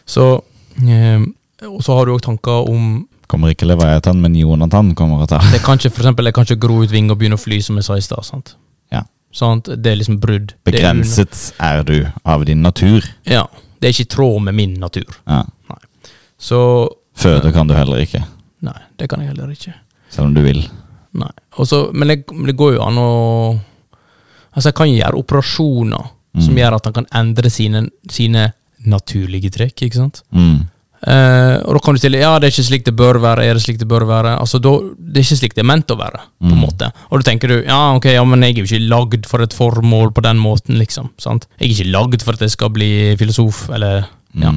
S1: Så eh, Og så har du òg tanker om
S2: Kommer ikke Leviathan, men Jonathan kommer og tar.
S1: Det kan ikke, for eksempel, jeg kan ikke gro ut vinger og begynne å fly, som jeg sa i stad. sant?
S2: Ja.
S1: Sant? Det er liksom brudd. Det er un-
S2: Begrenset er du av din natur.
S1: Ja. Det er ikke i tråd med min natur.
S2: Ja.
S1: Så
S2: Føde kan du heller ikke,
S1: Nei, det kan jeg heller ikke.
S2: selv om du vil.
S1: Nei. Og så- men det, men det går jo an å Altså, jeg kan jo gjøre operasjoner som
S2: Mm.
S1: gjør at han kan endre sine, sine naturlige trekk, ikke sant?
S2: Mm.
S1: Eh, og da kan du stille Ja, det er ikke slik det bør være. Er det slik det bør være? Altså, da, Det er ikke slik det er ment å være. på en
S2: Mm.
S1: måte Og da tenker du ja, ok, ja, men jeg er jo ikke lagd for et formål på den måten, liksom. sant? Jeg er ikke lagd for at jeg skal bli filosof, eller
S2: Mm.
S1: ja.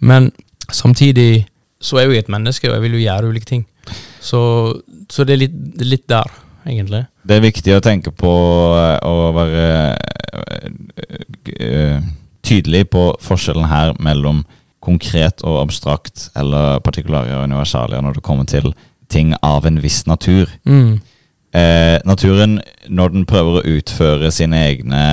S1: Men samtidig så er jeg jo et menneske, og jeg vil jo gjøre ulike ting. Så, så det er litt, det er litt der, egentlig.
S2: Det er viktig å tenke på eh, å være eh, eh, tydelig på forskjellen her mellom konkret og abstrakt, eller partikulære og universalier, når det kommer til ting av en viss natur. Mm. eh, naturen, når den prøver å utføre sine egne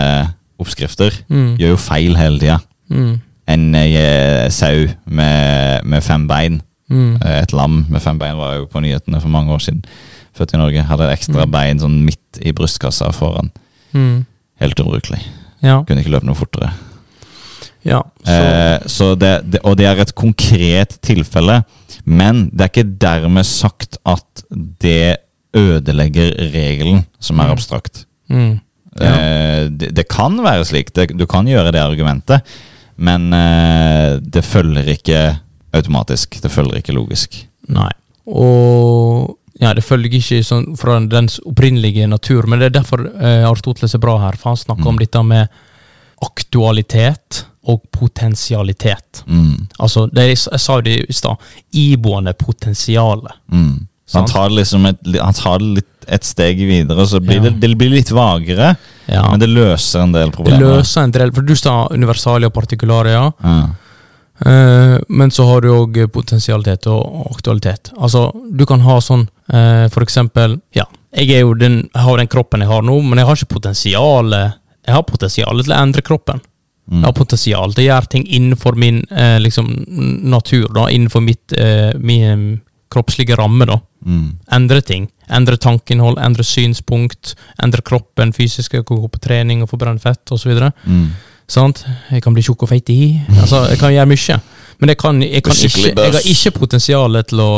S2: oppskrifter,
S1: Mm.
S2: gjør jo feil hele tida.
S1: Mm.
S2: En eh, sau med, med fem bein,
S1: Mm.
S2: eh, et lam med fem bein, var jo på nyhetene for mange år siden. Født i Norge. Hadde et ekstra
S1: Mm.
S2: bein sånn midt i brystkassa foran.
S1: Mm.
S2: Helt ubrukelig.
S1: Ja.
S2: Kunne ikke løpe noe fortere.
S1: ja. Så,
S2: Eh, så det, det, og det er et konkret tilfelle, men det er ikke dermed sagt at det ødelegger regelen, som er
S1: Mm.
S2: abstrakt.
S1: mm. Ja.
S2: Eh, det, det kan være slik. Det, du kan gjøre det argumentet, men eh, det følger ikke automatisk. Det følger ikke logisk.
S1: Nei. Og ja, det følger ikke sånn fra dens opprinnelige natur, men det er derfor eh, Aristoteles er bra her, for han snakker om
S2: Mm.
S1: dette med aktualitet og potensialitet.
S2: Mm.
S1: Altså, det er, jeg sa jo det i stad, iboende potensialet.
S2: Mm. Så Han
S1: Sant.
S2: tar det liksom et, li- han tar det litt et steg videre, så blir
S1: Ja.
S2: det, det blir litt vagere,
S1: Ja.
S2: men det løser en del
S1: Det
S2: problemer.
S1: løser en del, for du sa universalia partikularia,
S2: Ja.
S1: eh, men så har du òg potensialitet og aktualitet. Altså, du kan ha sånn eh, for eksempel Ja, jeg er jo den, jeg har den kroppen jeg har nå, men jeg har ikke potensiale Jeg har potensial til å endre kroppen.
S2: Mm.
S1: Jeg har potensial til å gjøre ting innenfor min eh, liksom, n- natur, da, innenfor mitt, eh, min kroppslige ramme. da.
S2: Mm.
S1: Endre ting. Endre tankeinnhold, endre synspunkt, endre kroppen, fysisk, jeg kan gå på trening og forbrenne fett osv.
S2: Mm.
S1: Sant? Jeg kan bli tjukk og feit i. Altså, jeg kan gjøre mye. Men jeg, kan, jeg, kan ikke,
S2: Skikkelig
S1: jeg har
S2: bøss.
S1: ikke potensial til å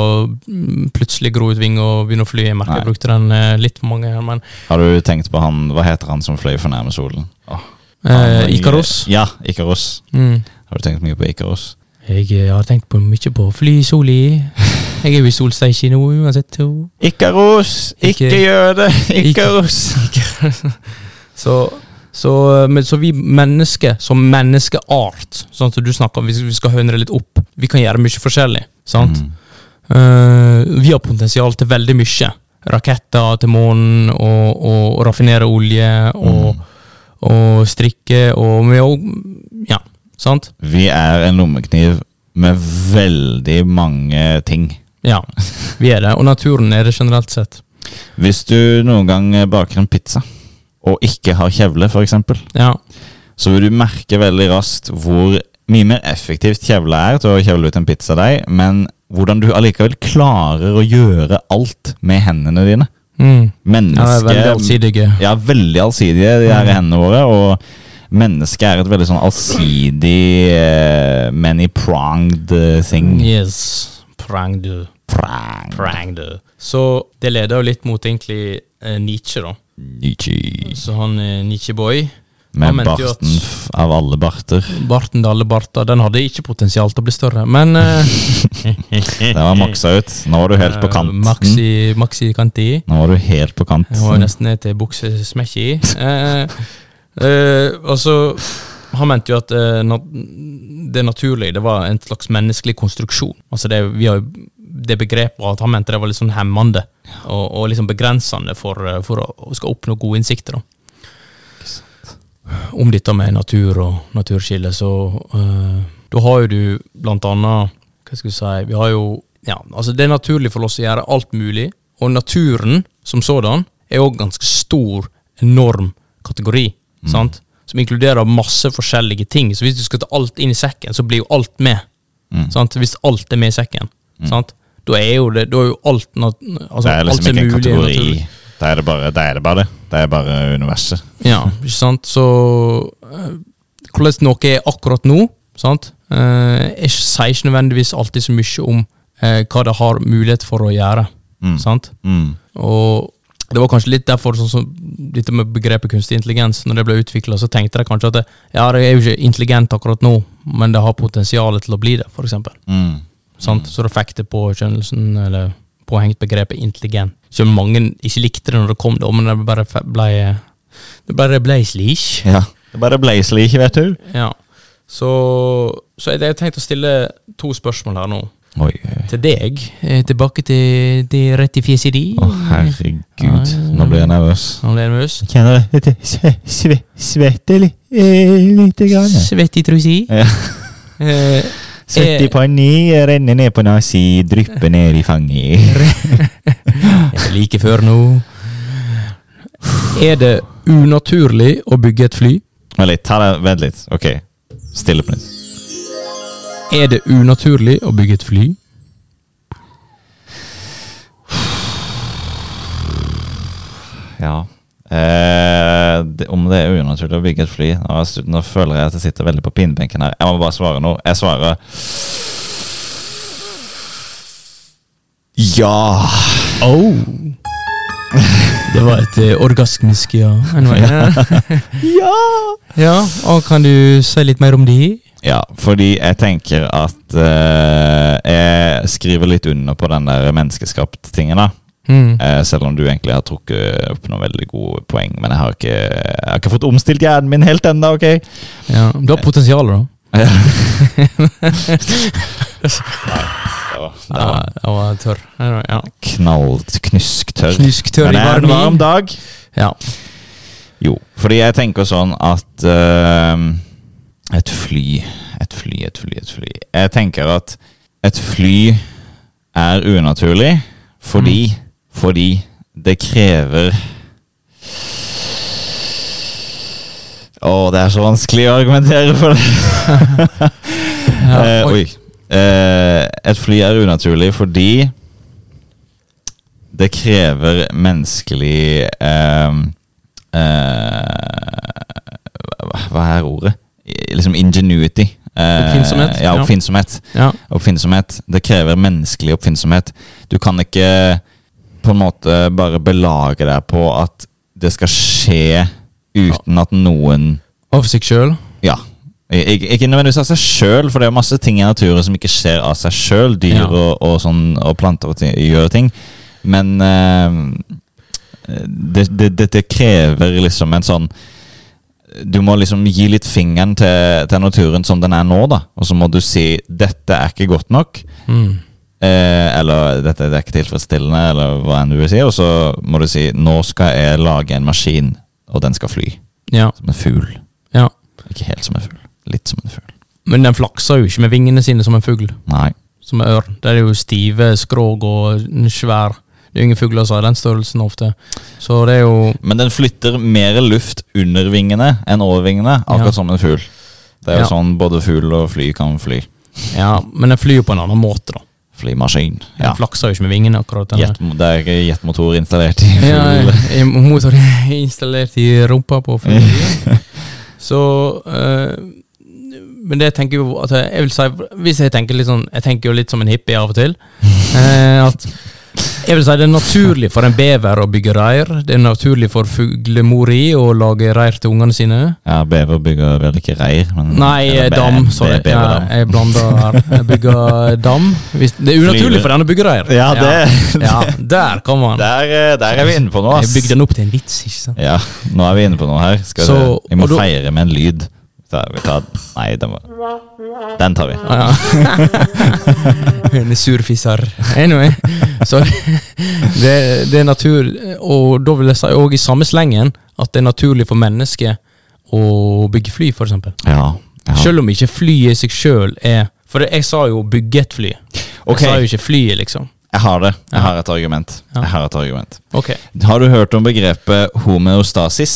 S1: mm, plutselig gro ut vinger og begynne å fly. Jeg merker
S2: Nei.
S1: jeg brukte den eh, litt for mange her, men
S2: Har du tenkt på han Hva heter han som fløy for nærme solen? Åh,
S1: eh,
S2: han-
S1: Ikaros.
S2: Ja, Ikaros.
S1: Mm.
S2: Har du tenkt mye på Ikaros?
S1: Jeg eh, har tenkt på mye på å fly i soli. Jeg er jo i solsteik nå uansett. jo.
S2: Ikaros!
S1: Ikke-
S2: Ikke gjør det! Ikaros!
S1: Så, så, eh, men, så vi mennesker, som menneskeart, sånn som du snakker om, hvis vi skal høne det litt opp, vi kan gjøre mye forskjellig. sant?
S2: Mm.
S1: Eh, vi har potensial til veldig mye. Raketter til månen, og, og raffinere olje,
S2: mm.
S1: og, og strikke, og vi har òg Ja, sant?
S2: Vi er en lommekniv med veldig mange ting.
S1: Ja, vi er det. Og naturen er det generelt sett.
S2: Hvis du noen gang baker en pizza og ikke har kjevle, f.eks.,
S1: Ja,
S2: så vil du merke veldig raskt hvor mye mer effektivt kjevle er til å kjevle ut en pizzadeig, men hvordan du allikevel klarer å gjøre alt med hendene dine.
S1: mm. ja det er
S2: Mennesket
S1: veldig Mm. allsidige.
S2: Ja, veldig allsidige, de her hendene våre. Og mennesket er et veldig sånn allsidig, eh, many-pronged eh, thing.
S1: Yes. Prang du.
S2: Prang.
S1: Prang du. Så det leder jo litt mot egentlig eh, Nietzsche, da.
S2: Nietzsche.
S1: Så han eh, Nietzsche-boy Mm. Han
S2: Med
S1: mente jo at-
S2: barten f- av alle barter.
S1: Barten Dalle Barta, den hadde ikke potensial til å bli større, men eh,
S2: Den var maksa ut. Nå var du helt på
S1: eh,
S2: kanten.
S1: Maxi, maxi Kanti.
S2: Nå var du helt på kant.
S1: Jeg var jo nesten ned til buksesmekk i. Eh, eh, og så Han mente jo at eh, nat det naturlige det var en slags menneskelig konstruksjon. Altså det, vi har, jo- det begrepet at han mente det var litt sånn hemmende og, og liksom begrensende for, eh, for å, å skal oppnå gode innsikter. da. Om dette med natur og naturskille, så eh, Da har jo du blant annet Hva skal vi si Vi har jo Ja, altså det er naturlig for oss å gjøre alt mulig, og naturen som sådan er òg ganske stor, enorm kategori,
S2: Mm.
S1: sant? Som inkluderer masse forskjellige ting. Så hvis du skal ta alt inn i sekken, så blir jo alt med.
S2: Mm.
S1: Sant? Hvis alt er med i sekken, sant? Da er jo det Da er jo alt nat altså,
S2: Det er
S1: alt
S2: liksom
S1: som
S2: ikke en
S1: mulig er
S2: kategori.
S1: naturlig.
S2: Da er det bare det. Er det, bare det. det er bare universet.
S1: Ja, ikke sant? Så eh, hvordan noe er akkurat nå, sant? Eh, jeg sier ikke nødvendigvis alltid så mye om eh, hva det har mulighet for å gjøre.
S2: Mm.
S1: Sant?
S2: Mm.
S1: Og det var kanskje litt derfor sånn som dette med begrepet kunstig intelligens, når det ble utvikla, så tenkte de kanskje at det, ja, det er jo ikke intelligent akkurat nå, men det har potensial til å bli det, for eksempel.
S2: Mm.
S1: Sant? Så da fikk det påkjønnelsen, eller påhengt begrepet intelligent. Som mange ikke likte det når det kom, da, men det bare fe- ble Det bare ble slik.
S2: Ja. Det er bare Blazely, ikke vet du.
S1: Ja. Så, så jeg, jeg tenkte å stille to spørsmål her nå.
S2: Oi, oi.
S1: Til deg. Eh, Tilbake til, til rett i fjeset ditt.
S2: Å, herregud. Nå blir jeg nervøs.
S1: Annerledes.
S2: Jeg kjenner det svetter litt.
S1: Svett i trusi.
S2: eh, Ja.
S1: Eh,
S2: Svett i panni, renner ned på nasi, drypper ned i fanget.
S1: er det like før nå. Er det unaturlig å bygge et fly?
S2: Vent litt, ta det, vent litt. Ok, stille på nytt.
S1: Er det unaturlig å bygge et fly?
S2: Ja. Eh, det, om det er unaturlig å bygge et fly Nå, er jeg slutt- nå føler jeg at jeg sitter veldig på pinnebenken her. Jeg må bare svare nå. Jeg svarer Ja!
S1: Oh. Det var et eh, orgasmisk ja. Anyway.
S2: Ja!
S1: ja, og kan du si litt mer om de?
S2: Ja, fordi jeg tenker at eh, Jeg skriver litt under på den der menneskeskapt-tingen, da.
S1: Mm.
S2: Eh, selv om du egentlig har trukket opp noen veldig gode poeng, men jeg har ikke, jeg har ikke fått omstilt hjernen min helt ennå, OK?
S1: Ja. Du har potensial, da.
S2: Nei, Ja,
S1: Ja, jeg var tørr. Ja.
S2: Knallknusktørr.
S1: Knusktørr
S2: Men
S1: i
S2: eh, det er en
S1: varmen.
S2: varm dag.
S1: Ja.
S2: Jo, fordi jeg tenker sånn at ehm, Et fly, et fly, et fly, et fly Jeg tenker at et fly er unaturlig fordi
S1: Mm.
S2: Fordi det krever Å, det er så vanskelig å argumentere for det.
S1: Ja,
S2: Eh,
S1: oi.
S2: oi. Eh, et fly er unaturlig fordi det krever menneskelig eh, eh, hva- Hva er ordet? I- Liksom ingenuity. Eh,
S1: Oppfinnsomhet,
S2: Ja,
S1: ja.
S2: oppfinnsomhet.
S1: Ja.
S2: oppfinnsomhet. Det krever menneskelig oppfinnsomhet. Du kan ikke på en måte bare belage deg på at det skal skje uten at noen
S1: Av seg sjøl.
S2: ja. Ikke, ikke nødvendigvis av seg sjøl, for det er masse ting i naturen som ikke skjer av seg sjøl. Dyr
S1: Ja.
S2: og, og, sånn, og planter og ting, gjør ting. Men eh, det, det, dette krever liksom en sånn Du må liksom gi litt fingeren til, til naturen som den er nå, da. Og så må du si 'dette er ikke godt nok'.
S1: Mm.
S2: Eh, eller 'dette er ikke tilfredsstillende', eller hva enn du vil si. Og så må du si 'nå skal jeg lage en maskin, og den skal fly'.
S1: Ja.
S2: Som en fugl.
S1: ja.
S2: Ikke helt som en fugl. Litt som en fugl.
S1: Men den flakser jo ikke med vingene sine som en fugl.
S2: Nei.
S1: Som en ørn. Der er jo stive skrog og en svær Det er jo ingen fugler som har den størrelsen ofte. Så det er jo
S2: Men den flytter mer luft under vingene enn over vingene, akkurat
S1: Ja.
S2: som en fugl. Det er jo
S1: Ja.
S2: sånn både fugl og fly kan fly.
S1: Ja, men den flyr jo på en annen måte, da.
S2: Flymaskin.
S1: Den
S2: Ja.
S1: flakser jo ikke med vingene, akkurat. Den
S2: Jet, det er ikke jetmotor installert i fugl.
S1: Ja, i- i motor er installert i rumpa på fuglen. Så eh, Men det tenker jeg jo at jeg vil si Hvis jeg tenker litt sånn Jeg tenker jo litt som en hippie av og til. eh, at jeg vil si Det er naturlig for en bever å bygge reir. Det er naturlig for fuglemori å lage reir til ungene sine.
S2: Ja, bever bygger vel ikke reir, men
S1: Nei,
S2: eller
S1: eh,
S2: be-
S1: dam.
S2: be-
S1: Sorry. Ja,
S2: beverdam.
S1: jeg blanda her. Jeg bygger dam. Hvis, det er unaturlig
S2: Flyver.
S1: for denne byggereir.
S2: Ja, det-
S1: ja, Der kom han.
S2: Der, eh, der er vi inne på noe,
S1: Jeg
S2: ass.
S1: bygde den opp til en vits, ikke sant?
S2: Ja, nå er vi inne på noe her. Skal
S1: Så-
S2: vi, vi må
S1: og da-
S2: feire med en lyd. Da, vi tar, nei, den, må, den tar vi.
S1: Ah, ja. En surfisser. Anyway. Så det, det er natur Og da vil jeg si òg i samme slengen at det er naturlig for mennesket å bygge fly, f.eks. eksempel
S2: Ja. ja.
S1: Selv om ikke flyet i seg sjøl er For jeg sa jo 'bygge et fly'.
S2: Ok.
S1: Jeg sa jo ikke flyet, liksom.
S2: Jeg har det. Jeg har et argument.
S1: Ja.
S2: Jeg har et argument.
S1: Ok.
S2: Har du hørt om begrepet homeostasis?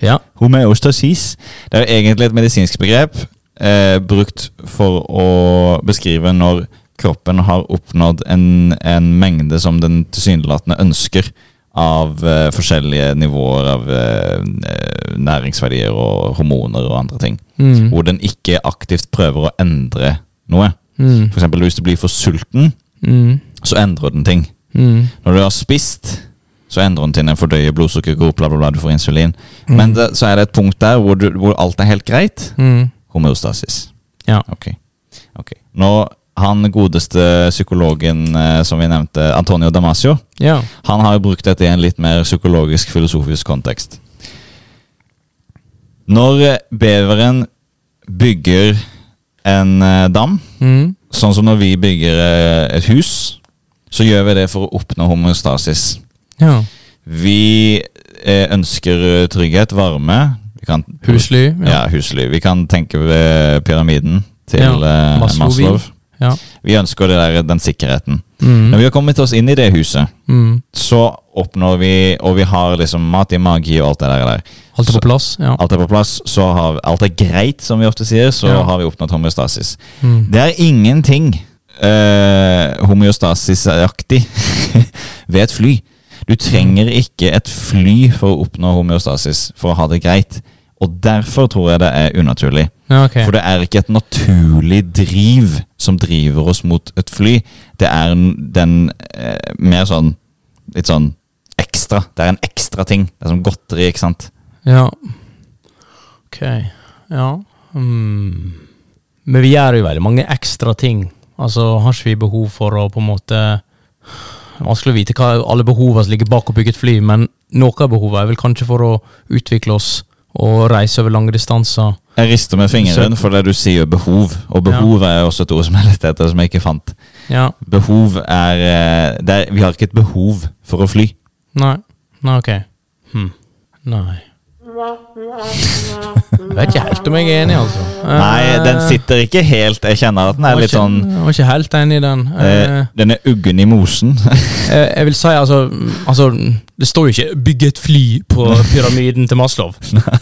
S1: Ja.
S2: Homeostasis Det er egentlig et medisinsk begrep eh, brukt for å beskrive når kroppen har oppnådd en, en mengde som den tilsynelatende ønsker av eh, forskjellige nivåer av eh, næringsverdier og hormoner og andre ting.
S1: Mm.
S2: Hvor den ikke aktivt prøver å endre noe.
S1: Mm.
S2: For eksempel hvis du blir for sulten,
S1: Mm.
S2: så endrer den ting.
S1: Mm.
S2: Når du har spist, så endrer den til en fordøyer blodsukker, går opp, bla, bla, bla, du får insulin.
S1: Mm.
S2: Men det, så er det et punkt der hvor, du, hvor alt er helt greit.
S1: Mm.
S2: Homeostasis.
S1: Ja.
S2: Ok. ok. Nå, han godeste psykologen eh, som vi nevnte, Antonio Damasio,
S1: Ja.
S2: han har jo brukt dette i en litt mer psykologisk, filosofisk kontekst. Når eh, beveren bygger en eh, dam,
S1: Mm.
S2: sånn som når vi bygger eh, et hus, så gjør vi det for å oppnå homeostasis.
S1: ja.
S2: Vi eh, ønsker trygghet, varme. Vi kan,
S1: Husly.
S2: Ja. husly. Vi kan tenke ved pyramiden til
S1: Ja,
S2: eh,
S1: Maslow.
S2: Maslow.
S1: Ja.
S2: Vi ønsker det der, den sikkerheten. Når
S1: Mm.
S2: vi har kommet oss inn i det huset,
S1: Mm.
S2: så oppnår vi Og vi har liksom mat i magi og alt det der. der.
S1: Alt er på plass? Ja.
S2: Alt er på plass, så har alt er greit, som vi ofte sier, så
S1: Ja.
S2: har vi oppnådd homeostasis.
S1: Mm.
S2: Det er ingenting eh, homeostasisaktig ved et fly. Du trenger ikke et fly for å oppnå homeostasis, for å ha det greit. Og derfor tror jeg det er unaturlig.
S1: Ja, ok.
S2: For det er ikke et naturlig driv som driver oss mot et fly. Det er n- den eh, mer sånn litt sånn ekstra. Det er en ekstra ting. Det er som godteri, ikke sant?
S1: Ja. Ok. Ja. Mm. Men vi gjør jo veldig mange ekstra ting. Altså, har ikke vi behov for å på en måte Vanskelig å vite hva alle behovene som ligger bak å bygge et fly, men noe av behovet er vel kanskje for å utvikle oss og reise over lange distanser.
S2: Jeg rister med fingeren for det du sier behov, og behov er også et ord som jeg lette etter, som jeg ikke fant.
S1: Ja,
S2: Behov er, eh, det er Vi har ikke et behov for å fly.
S1: nei. Nei, ok. Hm. Nei. Jeg vet ikke helt om jeg er enig, altså.
S2: Nei, den sitter ikke helt. Jeg kjenner at den er litt sånn
S1: Jeg var ikke helt enig i den. Eh,
S2: eh, Den er uggen i mosen.
S1: Eh, Jeg vil si, altså, altså Det står jo ikke 'bygge et fly' på pyramiden til Maslow.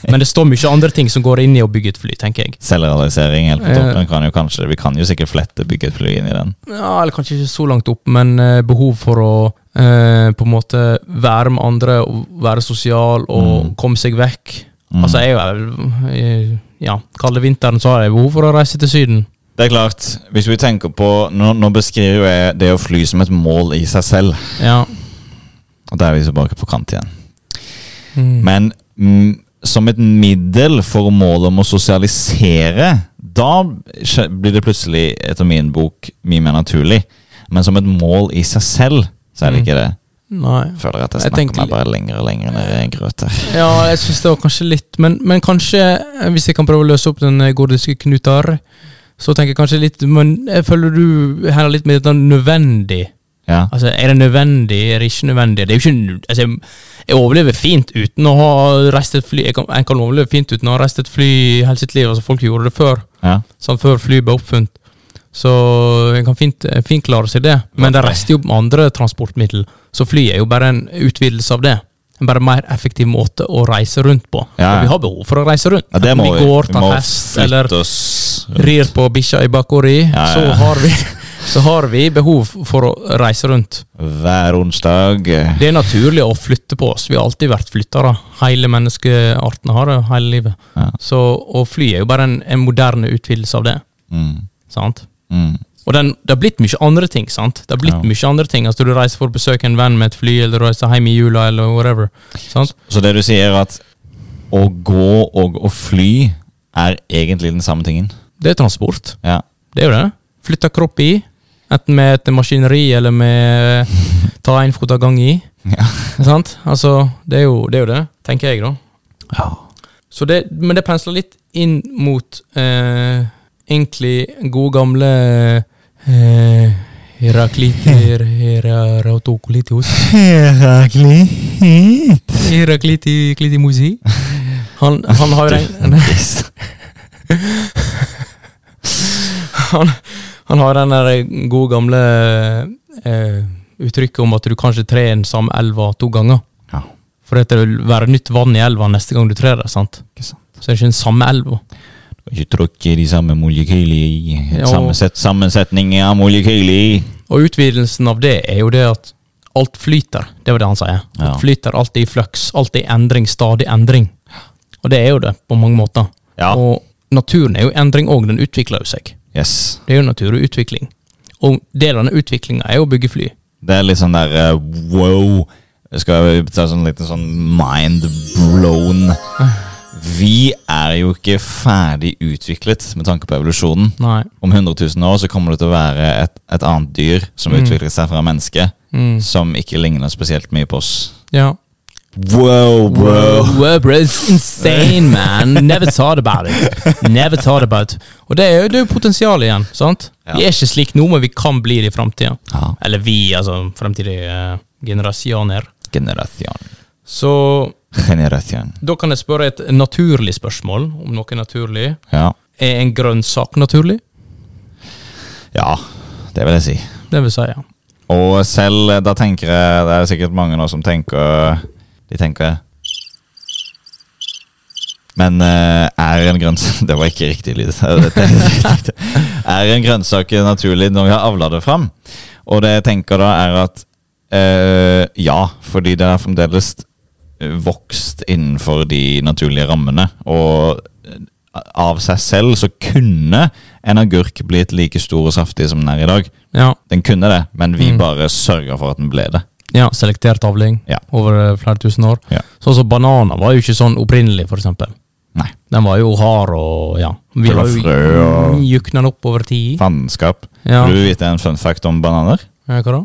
S1: Men det står mye andre ting som går inn i å bygge et fly, tenker jeg.
S2: Selvrealisering helt på
S1: Eh.
S2: toppen. Kan jo kanskje, vi kan jo sikkert flette bygge et fly inn i den.
S1: Ja, Eller kanskje ikke så langt opp, men eh, behov for å eh, på en måte være med andre, og være sosial og komme seg vekk.
S2: Mm.
S1: Altså, jeg er vel eh, Ja, kalde vinteren, så har jeg behov for å reise til Syden.
S2: Det er klart, hvis vi tenker på Nå, nå beskriver jo jeg det å fly som et mål i seg selv,
S1: Ja.
S2: og da er vi tilbake på kant igjen.
S1: Mm.
S2: Men mm, som et middel for målet om å sosialisere, da skje- blir det plutselig, etter min bok, mye mer naturlig. Men som et mål i seg selv, så er det ikke det.
S1: Nei.
S2: Jeg føler at jeg
S1: Mm. Jeg
S2: snakker
S1: tenker
S2: meg bare lenger og lenger ned i en grøt her.
S1: Ja, jeg syns det var kanskje litt Men, men kanskje, eh, hvis jeg kan prøve å løse opp den eh, gordiske knutar, så tenker jeg kanskje litt Men jeg føler du heller litt med dette nødvendig.
S2: Ja.
S1: Altså, er det nødvendig, er det ikke nødvendig? Det er jo ikke nu- Altså, jeg, jeg overlever fint uten å ha reist et fly. Jeg kan, jeg kan overleve fint uten å ha reist et fly hele sitt liv. Altså, folk gjorde det før.
S2: ja.
S1: Sånn før fly ble oppfunnet. Så jeg kan fint, eh, fint klare seg det. Men det rester jo andre transportmiddel. Så fly er jo bare en utvidelse av det. En bare mer effektiv måte å reise rundt på.
S2: Ja, ja.
S1: Og vi har behov for å reise rundt.
S2: ja det
S1: Enten
S2: må vi.
S1: vi går,
S2: vi må
S1: tar hest,
S2: flytte
S1: eller
S2: oss
S1: rir på bikkja i bakgården,
S2: Ja, ja, ja.
S1: så har vi så har vi behov for å reise rundt.
S2: hver onsdag.
S1: Det er naturlig å flytte på oss. Vi har alltid vært flyttere. Hele menneskearten har det hele livet.
S2: Ja.
S1: Så, og fly er jo bare en, en moderne utvidelse av det.
S2: Mm.
S1: Sant?
S2: Mm.
S1: Og den, det har blitt mye andre ting, sant? Det har blitt
S2: Ja.
S1: mye andre ting. Altså, du reiser for å besøke en venn med et fly, eller du reiser hjem i jula, eller whatever. Sant?
S2: Så det du sier er at å gå og å fly er egentlig den samme tingen?
S1: Det er transport.
S2: Ja.
S1: Det er jo det. Flytter kropp i. Enten med et maskineri, eller med ta en fot av gang i.
S2: Ja.
S1: Sant? Altså, det er, jo, det er jo det, tenker jeg, da.
S2: ja.
S1: Så det, men det pensler litt inn mot eh, egentlig gode gamle eh, Herakliter Heratokolitios.
S2: Heraklit
S1: Herakliti Klitimosi. Han, han har jo den han, han har den der gode gamle eh, uttrykket om at du kanskje trer den samme elva to ganger.
S2: Ja,
S1: For det vil være nytt vann i elva neste gang du trer der, sant?
S2: ikke sant.
S1: Så er det ikke den samme elva.
S2: Du kan ikke tråkke de samme molekyler i.
S1: Ja.
S2: Sammensett, sammensetning av molekyler i.
S1: Og utvidelsen av det er jo det at alt flyter. Det var det han sier.
S2: Ja.
S1: Alt flyter, alt er i flux, alt er i endring, stadig endring. Og det er jo det, på mange måter.
S2: Ja.
S1: Og naturen er jo endring òg, den utvikler jo seg.
S2: Yes.
S1: Det er jo natur og utvikling. Og del av den utviklinga er jo å bygge fly.
S2: Det er litt sånn der eh, wow. Jeg skal ta sånn liten sånn mind blown. Vi er jo ikke ferdig utviklet med tanke på evolusjonen.
S1: Nei.
S2: Om 100 000 år så kommer det til å være et, et annet dyr som utvikler seg fra mennesket,
S1: Mm.
S2: som ikke ligner spesielt mye på oss.
S1: Ja.
S2: Wow, wow.
S1: Wow, bro, it's insane, man. Never thought about it. Never thought about it. Og det er jo, det er jo potensial igjen, sant?
S2: Ja.
S1: Vi er ikke slik nå, men vi kan bli det i framtida.
S2: Ja,
S1: Eller vi, altså fremtidige eh, generasjoner.
S2: generasjon.
S1: Så
S2: Generasjon.
S1: da kan jeg spørre et naturlig spørsmål, om noe naturlig.
S2: Ja.
S1: Er en grønnsak naturlig?
S2: ja, det vil jeg si.
S1: Det vil si, ja.
S2: Og selv eh, da tenker jeg Det er sikkert mange nå som tenker De tenker Men eh, er en grønnsak Det var ikke riktig lyd. er en grønnsak naturlig når vi har avla det fram? Og det jeg tenker da, er at eh, ja, fordi det er fremdeles vokst innenfor de naturlige rammene. Og eh, av seg selv så kunne en agurk blitt like stor og saftig som den er i dag.
S1: Ja,
S2: Den kunne det, men vi
S1: Mm.
S2: bare sørga for at den ble det.
S1: ja selektert avling
S2: Ja.
S1: over eh, flere tusen år.
S2: Ja.
S1: Sånn som bananer var jo ikke sånn opprinnelig, for eksempel.
S2: Nei.
S1: Den var jo hard og ja. Vi
S2: Det var
S1: har jo
S2: frø og-
S1: jukna den opp over tid.
S2: Fanskap.
S1: Ja.
S2: Vil du vite en fun fact om bananer?
S1: Ja, hva da?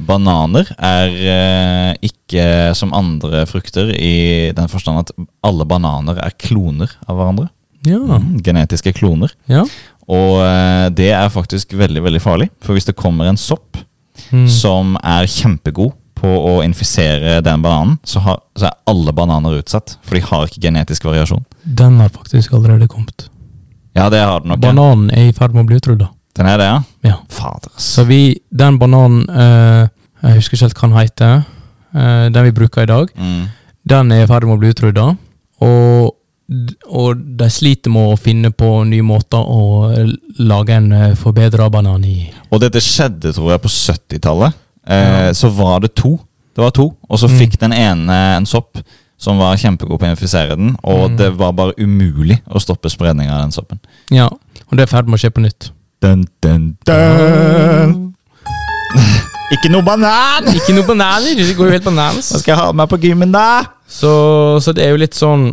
S2: Bananer er eh, ikke som andre frukter i den forstand at alle bananer er kloner av hverandre.
S1: Ja.
S2: Mm, genetiske kloner.
S1: ja.
S2: Og eh, det er faktisk veldig, veldig farlig. For hvis det kommer en sopp
S1: Mm.
S2: som er kjempegod på å infisere den bananen, så, har, så er alle bananer utsatt. For de har ikke genetisk variasjon.
S1: Den har faktisk allerede kommet.
S2: Ja, det har den nok. ja.
S1: Bananen er i ferd med å bli utrydda.
S2: Den er det, ja?
S1: Ja.
S2: Fader, ass.
S1: Så vi, den bananen eh, Jeg husker ikke helt hva den heter. eh, den vi bruker i dag.
S2: Mm.
S1: Den er i ferd med å bli utrydda. Og, og de sliter med å finne på nye måter å lage en eh, forbedra banan i.
S2: Og dette skjedde, tror jeg, på 70-tallet. Eh, Så var det to. Det var to, og så
S1: Mm.
S2: fikk den ene en sopp som var kjempegod på å infisere den, og
S1: Mm.
S2: det var bare umulig å stoppe spredninga av den soppen.
S1: Ja, Og det er i ferd med å skje på nytt.
S2: Dun, dun, dun. Ikke noe banan!
S1: Ikke noe bananer! Det går jo helt bananas.
S2: Hva skal jeg ha med meg på gymmen, da?
S1: Så, så det er jo litt sånn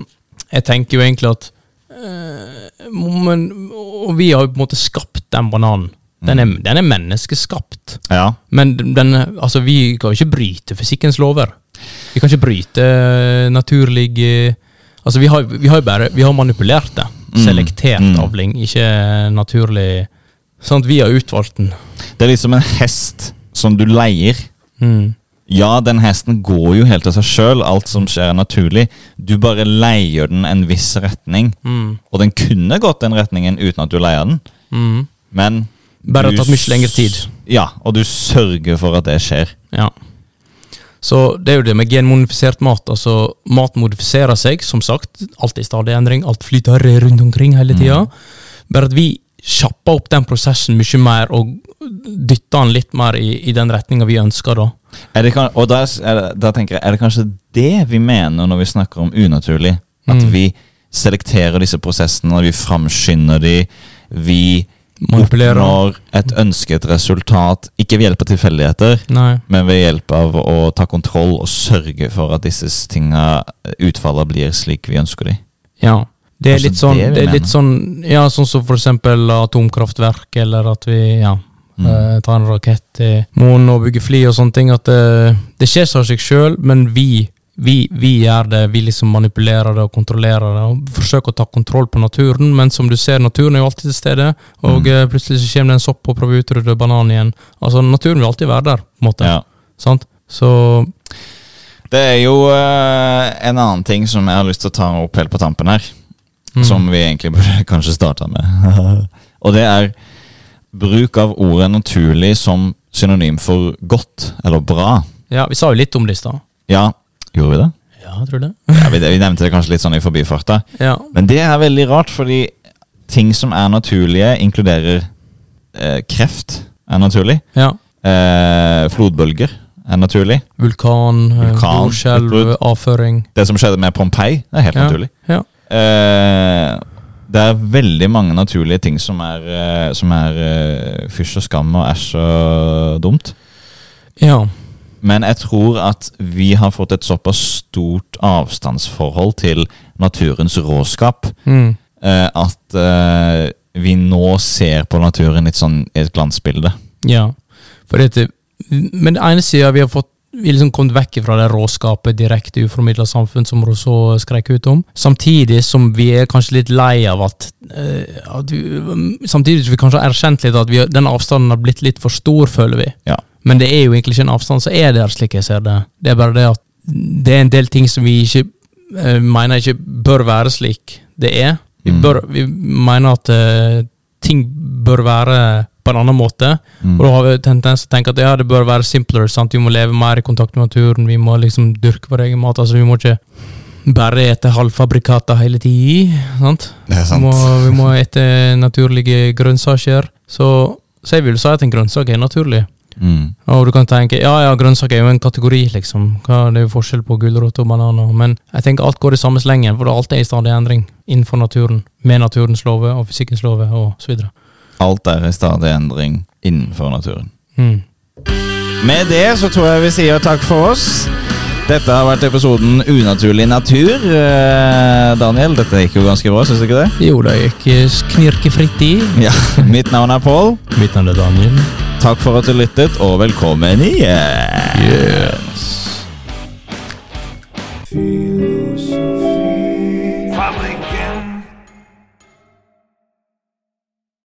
S1: Jeg tenker jo egentlig at eh, men, Og vi har jo på en måte skapt den bananen. Den er, den er menneskeskapt.
S2: Ja.
S1: Men den, altså, vi kan jo ikke bryte fysikkens lover. Vi kan ikke bryte eh, naturlig eh, Altså, vi har, vi har jo bare Vi har manipulert det.
S2: Mm.
S1: Selektert
S2: Mm.
S1: avling, ikke naturlig Sant, vi har utvalgt den.
S2: Det er liksom en hest som du leier.
S1: Mm.
S2: Ja, den hesten går jo helt av seg sjøl, alt som skjer er naturlig. Du bare leier den en viss retning.
S1: Mm.
S2: Og den kunne gått den retningen uten at du leier den,
S1: Mm.
S2: men
S1: Bare
S2: du
S1: tatt mye lengre tid.
S2: s- Ja, og du sørger for at det skjer.
S1: Ja. Så det er jo det med genmodifisert mat. Altså, mat modifiserer seg, som sagt. Alt er i stadig endring, alt flyter rundt omkring hele
S2: Mm.
S1: tida. Bare at vi kjapper opp den prosessen mye mer og dytter den litt mer i, i den retninga vi ønsker, da.
S2: Er det, kan- og da, s- er det, da tenker jeg, er det kanskje det vi mener når vi snakker om unaturlig? At
S1: Mm.
S2: vi selekterer disse prosessene, vi framskynder de, vi
S1: Manipulerer.
S2: oppnår et ønsket resultat, ikke ved hjelp av tilfeldigheter,
S1: Nei.
S2: men ved hjelp av å ta kontroll og sørge for at disse tinga, utfallet blir slik vi ønsker de.
S1: Ja. Det er
S2: Altså,
S1: litt sånn,
S2: det vi
S1: det er
S2: mener.
S1: litt sånn Ja, sånn som for eksempel atomkraftverk, eller at vi ja,
S2: Mm.
S1: eh, tar en rakett til månen og bygger fly og sånne ting. At eh, det skjer seg av seg sjøl, men vi, vi, vi gjør det. Vi liksom manipulerer det og kontrollerer det og forsøker å ta kontroll på naturen. Men som du ser, naturen er jo alltid til stede, og
S2: Mm.
S1: eh, plutselig så kommer det en sopp og prøver å utrydde bananen igjen. Altså, naturen vil alltid være der, på en måte.
S2: Ja.
S1: Sant? Så
S2: Det er jo eh, en annen ting som jeg har lyst til å ta opp helt på tampen her.
S1: mm,
S2: Som vi egentlig burde kanskje starta med. og det er bruk av ordet 'naturlig' som synonym for godt eller bra.
S1: Ja, vi sa jo litt om det i stad.
S2: Ja, gjorde vi det?
S1: Ja, jeg tror det.
S2: Ja, vi, vi nevnte det kanskje litt sånn i forbifarta.
S1: Ja.
S2: Men det er veldig rart, fordi ting som er naturlige, inkluderer eh, kreft er naturlig.
S1: ja.
S2: Eh, flodbølger er naturlig.
S1: Vulkan, eh,
S2: Vulkan,
S1: jordskjelv,
S2: utbrudd.
S1: avføring.
S2: Det som skjedde med Pompeii, er helt
S1: Ja,
S2: naturlig.
S1: ja.
S2: Eh, det er veldig mange naturlige ting som er, eh, som er eh, fysj og skam og æsj og dumt.
S1: Ja.
S2: Men jeg tror at vi har fått et såpass stort avstandsforhold til naturens råskap
S1: Mm.
S2: eh, at eh, vi nå ser på naturen litt sånn i et glansbilde.
S1: ja. For dette, men den ene sida vi har fått vi liksom kommet vekk fra det råskapet, direkte uformidla samfunn som Rousseau skrek ut om. Samtidig som vi er kanskje litt lei av at, eh, at vi, Samtidig som vi kanskje har erkjent litt at vi, har- den avstanden har blitt litt for stor, føler vi.
S2: Ja.
S1: Men det er jo egentlig ikke en avstand som er der, slik jeg ser det. Det er bare det at det er en del ting som vi ikke eh, mener ikke bør være slik det er. Vi,
S2: Mm.
S1: bør, vi mener at eh, ting bør være på en annen måte.
S2: Mm.
S1: Og da har vi tendens til å tenke at ja, det bør være simpler. Sant? Vi må leve mer i kontakt med naturen. Vi må liksom dyrke vår egen mat. Altså, vi må ikke bare ete halvfabrikata hele tida. Sant?
S2: Det er
S1: Vi må, vi må ete naturlige grønnsaker. Så, så jeg vil si at en grønnsak er naturlig.
S2: Mm.
S1: Og du kan tenke ja, ja, grønnsaker er jo en kategori, liksom. Hva, det er jo forskjell på gulrot og bananer. Men jeg tenker alt går i samme slengen, for alt er i stadig endring innenfor naturen. Med naturens lover og fysikkens lover og så videre.
S2: Alt er i stadig endring innenfor naturen.
S1: Mm.
S2: Med det så tror jeg vi sier takk for oss. Dette har vært episoden Unaturlig natur. Eh, Daniel, dette gikk jo ganske bra, syns du ikke det?
S1: Jo, det gikk eh, knirkefritt i.
S2: Ja. Mitt navn er Pål.
S1: Mitt navn er Daniel.
S2: Takk for at du lyttet, og velkommen igjen.
S1: Yeah.